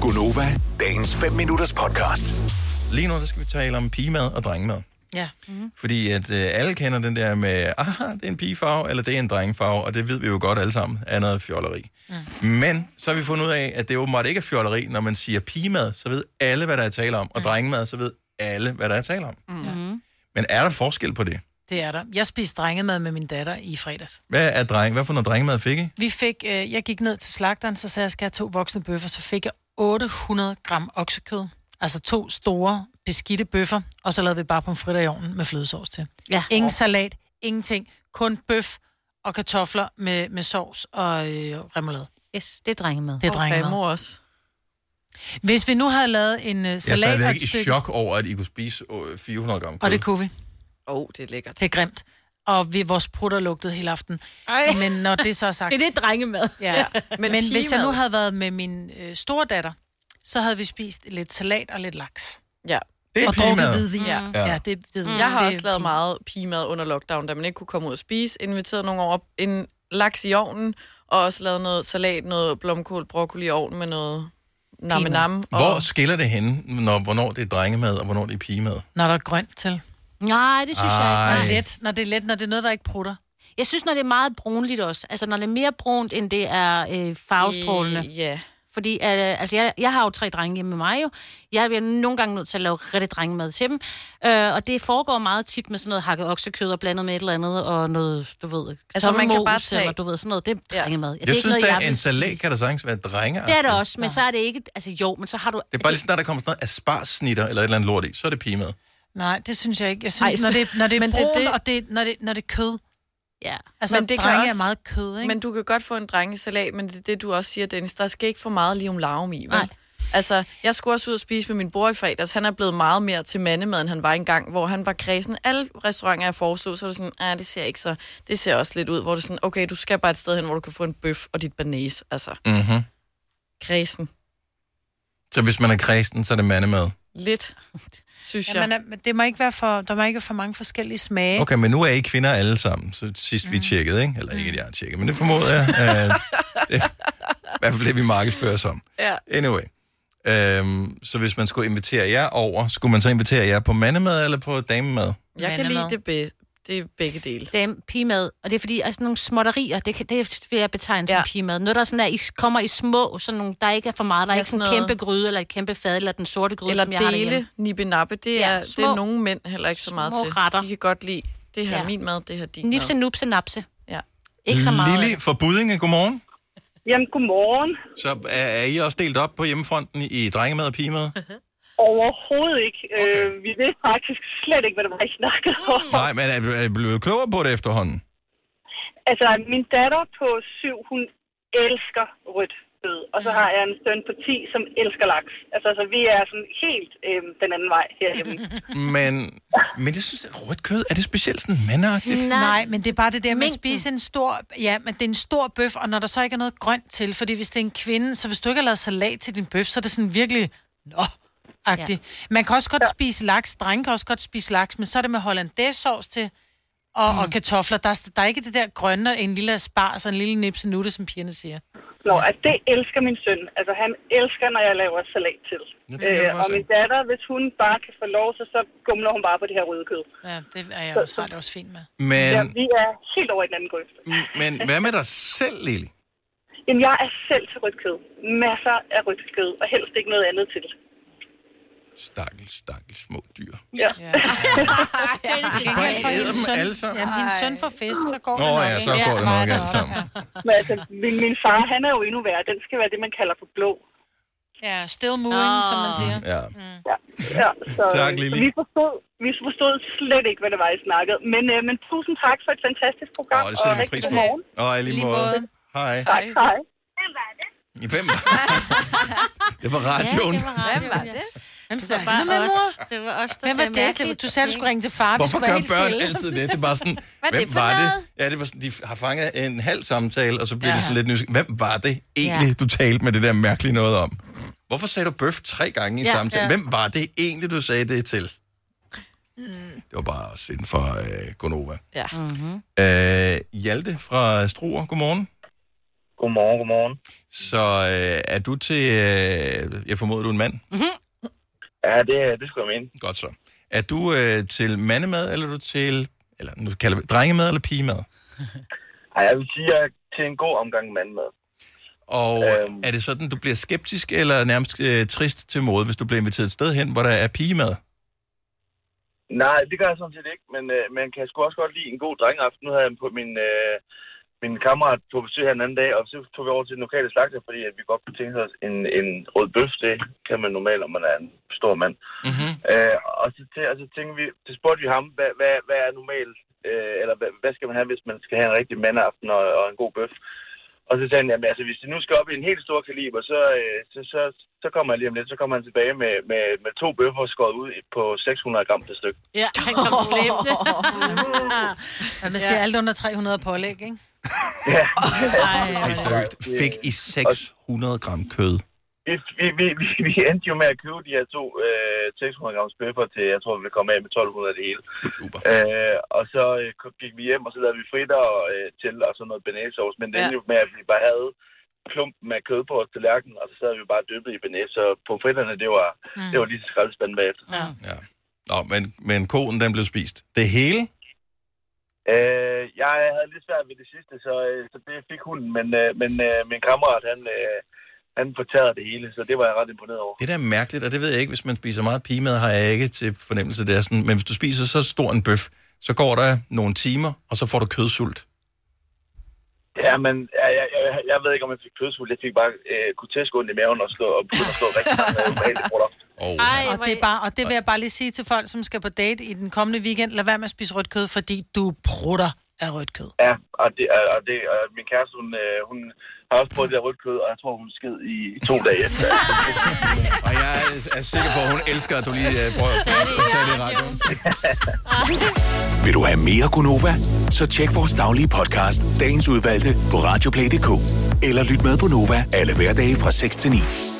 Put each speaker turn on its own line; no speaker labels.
Gunova, dagens 5 minutters podcast.
Lige nu, så skal vi tale om pigemad og drengemad.
Ja. Mm-hmm.
Fordi at øh, alle kender den der med, aha, det er en pigefarve, eller det er en drengefarve, og det ved vi jo godt alle sammen, er noget fjolleri. Mm. Men så har vi fundet ud af, at det åbenbart ikke er fjolleri, når man siger pigemad, så ved alle, hvad der er tale om, og mm. drengemad, så ved alle, hvad der er tale om.
Mm-hmm.
Men er der forskel på det?
Det er der. Jeg spiste drengemad med min datter i fredags.
Hvad er dreng? Hvad for noget drengemad fik I?
Vi fik, øh, jeg gik ned til slagteren, så sagde jeg, skal jeg have to voksne bøffer, så fik jeg 800 gram oksekød. Altså to store beskidte bøffer, og så lavede vi bare pomfritter i ovnen med flødesovs til.
Ja.
Ingen salat, ingenting, kun bøf og kartofler med, med sovs og øh, remoulade.
Yes, det er drengemad.
Det er drengemad.
mor også.
Hvis vi nu havde lavet en øh,
Jeg er
salat og
stadigvæk
et
i
stykke,
chok over, at I kunne spise øh, 400 gram kød.
og det kunne vi.
Åh, oh, det er lækkert.
Det er grimt. Og vi, vores prutter lugtede hele aften.
Ej.
Men når det så er sagt...
Det er det drengemad.
Ja, men, men hvis jeg nu
pigemad.
havde været med min øh, store datter, så havde vi spist lidt salat og lidt laks.
Ja.
det er
og drukket
pigemad.
hvidvin.
Ja. Mm.
Ja.
ja det, det,
Jeg har
Mm, det,
også lavet meget pigemad under lockdown, da man ikke kunne komme ud og spise. Inviteret nogle over en laks i ovnen, og også lavet noget salat, noget blomkål, broccoli i ovnen med noget namme
Pigemad.
nam. Og...
Hvor skiller det henne, når, hvornår det er drengemad, og hvornår det er pigemad?
Når der er grønt til.
Nej, det synes Ej. jeg
Ej.
ikke. Nej.
Let, når det er let, når det er noget, der ikke prutter.
Jeg synes, når det er meget brunligt også. Altså, når det er mere brunt, end det er øh, farvestrålende.
Øh, Ja.
Fordi at, øh, altså, jeg, jeg har jo tre drenge hjemme med mig jo. Jeg bliver nogle gange nødt til at lave rigtig drengemad til dem. Øh, og det foregår meget tit med sådan noget hakket oksekød og blandet med et eller andet, og noget, du ved,
Altså, man kan
kartoffelmos
bare tage-
eller du ved, sådan noget. Det er
Ja.
drengemad. Ja.
Jeg
ikke
synes,
noget,
der er
vil
en
spise.
salat, kan der sagtens være drenge.
Det er det også, men så er det ikke... Altså jo, men så har du...
Det er bare lige sådan, når der kommer sådan noget asparsnitter eller et eller andet lort i, så er det pigemad.
Nej, det synes jeg ikke. Jeg
Ej,
synes, Ej, når det, når det er
men
brun,
det er
det,
det-
og det, når, det, når det er kød.
Ja.
Altså,
Men
men
det
det
kan
drenge
også-
er meget kød, ikke?
Men du kan godt få en drengesalat, men det er det, du også siger, Dennis. Der skal ikke for meget lige om larm i, vel?
Nej.
Altså, jeg skulle også ud og spise med min bror i fredags. Han er blevet meget mere til mandemad, end han var engang, hvor han var kredsen. Alle restauranter, jeg foreslog, så var det sådan, ah, det ser ikke så... Det ser også lidt ud, hvor du sådan, okay, du skal bare et sted hen, hvor du kan få en bøf og dit banæs, altså.
Mm-hmm.
Kredsen.
Så hvis man er kristen, så er det mandemad.
Lidt, synes
ja,
jeg.
man er, men det må ikke være for, der må ikke være for mange forskellige smage.
Okay, men nu er I kvinder alle sammen, så sidst
Mm.
vi tjekkede, ikke? Eller ikke, at jeg har tjekket, men det formoder jeg. Øh, det, I hvert fald det, vi markedsfører som.
Ja.
Anyway. Øhm, så hvis man skulle invitere jer over, skulle man så invitere jer på mandemad eller på damemad?
Jeg kan
Mandemad.
lide det, be- det er begge dele.
Det er pigemad, og det er fordi, altså nogle småtterier, det, kan, det vil jeg betegne som
Ja.
ja. pigemad. Noget, der sådan er, I kommer i små, sådan nogle, der ikke er for meget, der er
Ja,
ikke sådan en
sådan noget-
kæmpe gryde, eller et kæmpe fad, eller den sorte gryde,
Eller
som jeg har derhjemme.
dele, nippe nappe, det
Ja,
er, ja, det
små-
er nogle mænd heller ikke så meget
små
til.
retter.
De kan godt lide, det her er
Ja.
min mad, det her er din
Nipse,
mad.
nupse, napse.
Ja.
Ikke så meget.
Lili fra Budinge, godmorgen.
Jamen, godmorgen.
Så er, er I også delt op på hjemmefronten i drengemad og pigemad?
Overhovedet ikke.
Okay.
Okay. Øh, vi ved faktisk slet ikke, hvad det var, I snakkede om.
Nej, men er, er I blevet klogere på det efterhånden?
Altså, min datter på syv, hun elsker rødt kød. Og så har jeg en søn på 10, som elsker laks. Altså, så vi er sådan helt øh, den anden vej herhjemme.
Men, men det synes jeg, rødt kød, er det specielt sådan mandagtigt?
Nej.
Nej, men det er bare det der med at
Mængden.
spise en stor... Ja, men det er en stor bøf, og når der så ikke er noget grønt til, fordi hvis det er en kvinde, så hvis du ikke har lavet salat til din bøf, så er det sådan virkelig... Nå, agtigt. Ja. Man kan også godt ja. spise laks, drenge kan også godt spise laks, men så er det med hollandaisesauce til og, mm. og kartofler. Der er, der er ikke det der grønne, en lille spars og en lille nipse nutte, som pigerne siger.
Nå, altså, det elsker min søn. Altså, han elsker, når jeg laver salat til.
Ja, det kan jeg
Øh,
godt
og
se.
min datter, hvis hun bare kan få lov, så, så gumler hun bare på det her røde kød.
Ja, det er jeg også, har det også fint med.
Men,
Ja, vi er helt over i den anden grøft.
men hvad med dig selv, Lili?
Jamen, jeg er selv til rødt kød. Masser af rødt kød, og helst ikke noget andet til.
Stakkels, stakkels små dyr.
Ja.
Til gengæld for
æder
hendes
dem
søn,
alle sammen?
jamen, hendes søn får fisk, så går
Nå
det nok,
ja,
ikke?
så går det nok
meget
alt sammen.
Men altså, min, min far, han er jo endnu værre. Den skal være det, man kalder for blå.
Ja, still moving, oh. som man siger.
Ja.
Ja. Ja, så,
Tak, Lili.
Så vi, forstod, vi forstod slet ikke, hvad det var, I snakkede. Men, øh, men tusind tak for et fantastisk program.
Åh, det sætter vi
rigtig
pris
god
på.
morgen.
Åh, i lige
Lige
måde.
måde.
Hej.
Tak, hej.
I fem. det var radioen.
Hvem var det?
Hvem
Det var
snakker
bare
du med, mor?
os. Det var os, der
Hvem var
sagde
det?
mærkeligt.
Du sagde, du skulle ringe til far, hvis
Hvorfor
du var
gør
helt
børn
stille.
altid det? Det er bare sådan,
er det
hvem
for
var
noget?
det? Ja, det var sådan, de har fanget en halv samtale, og så bliver ja. det sådan lidt nysgerrig. Hvem var det egentlig, ja. du talte med det der mærkelige noget om? Hvorfor sagde du bøf tre gange i ja,
Ja,
samtalen?
ja.
Hvem var det egentlig, du sagde det til? Det var bare os inden for øh, Gonova.
Ja.
Øh, Hjalte fra Struer, godmorgen.
Godmorgen, godmorgen.
Så øh, er du til... Øh, jeg formoder, du er en mand.
Ja, det, det skulle jeg mene.
Godt så. Er du øh, til mandemad, eller er du til... Eller nu kalder vi drengemad eller pigemad?
Ej, jeg vil sige, at jeg er til en god omgang mandmad.
Og
Øhm.
er det sådan, du bliver skeptisk eller nærmest øh, trist til mode, hvis du bliver inviteret et sted hen, hvor der er pigemad?
Nej, det gør jeg sådan set ikke, men øh, man kan sgu også godt lide en god drengeaften. Nu havde jeg på min, øh, min kammerat på besøg her en anden dag, og så tog vi over til den lokale slagter, fordi at vi godt kunne tænke os en, en rød bøf. Det kan man normalt, når man er en stor mand.
Mm-hmm.
Øh, og, så tæ, og så tænkte vi, så spurgte vi ham, hvad, hvad, hvad er normalt, øh, eller hvad, hvad skal man have, hvis man skal have en rigtig mandeaften og, og en god bøf? Og så sagde han, jamen altså, hvis det nu skal op i en helt stor kaliber, så, øh, så, så, så kommer han lige om lidt, så kommer han tilbage med, med, med to bøffer skåret ud på 600 gram per stykke.
Ja, han kom slæbende.
Hvad man siger, alt under 300 pålæg, ikke?
Ja,
Ej, seriøst. Fik I 600 gram kød?
vi, vi, vi, vi, vi endte jo med at købe de her to øh, 600 grams bøffer til, jeg tror, vi ville komme af med 1200 det hele.
Super.
Øh, og så øh, kom- gik vi hjem, og så lavede vi fritter og, øh, til og sådan noget benæsovs. Men det
Ja.
endte jo med, at vi bare havde klumpen med kød på vores tallerken, og så sad vi bare dyppet i benæs. Så på fritterne, det var, mm. det var lige til skraldespanden bagefter.
Ja.
Ja. Nå, men, men konen, den blev spist. Det hele?
Øh, jeg havde lidt svært ved det sidste, så, øh, så det fik hunden. Men, øh, men øh, min kammerat, han, øh, han fortærede det hele, så det var jeg ret imponeret over.
Det der er da mærkeligt, og det ved jeg ikke, hvis man spiser meget pigemad, har jeg ikke til fornemmelse, det er sådan, men hvis du spiser så stor en bøf, så går der nogle timer, og så får du kødsult.
Ja, men ja, jeg, jeg, jeg ved ikke, om jeg fik kødsvult. Jeg fik bare øh, grotesk ondt i maven og, slå, og begyndte at slå rigtig mange øh, ubehagelige brutter.
Og
Ej,
Og
hvor
det, er bare, og det vil jeg bare lige sige til folk, som skal på date i den kommende weekend. Lad være med at spise rødt kød, fordi du prutter af rødt kød.
Ja, og, det, og, og, det, og min kæreste, hun, øh, hun har også prøvet det der rødt kød, og jeg tror, hun sked i, i to dage. efter.
og jeg er sikker på, at hun elsker, at du lige øh, prøver at tage det i radioen.
Vil du have mere Gunova? Så tjek vores daglige podcast, dagens udvalgte, på radioplay.dk. Eller lyt med på Nova alle hverdage fra 6 til 9.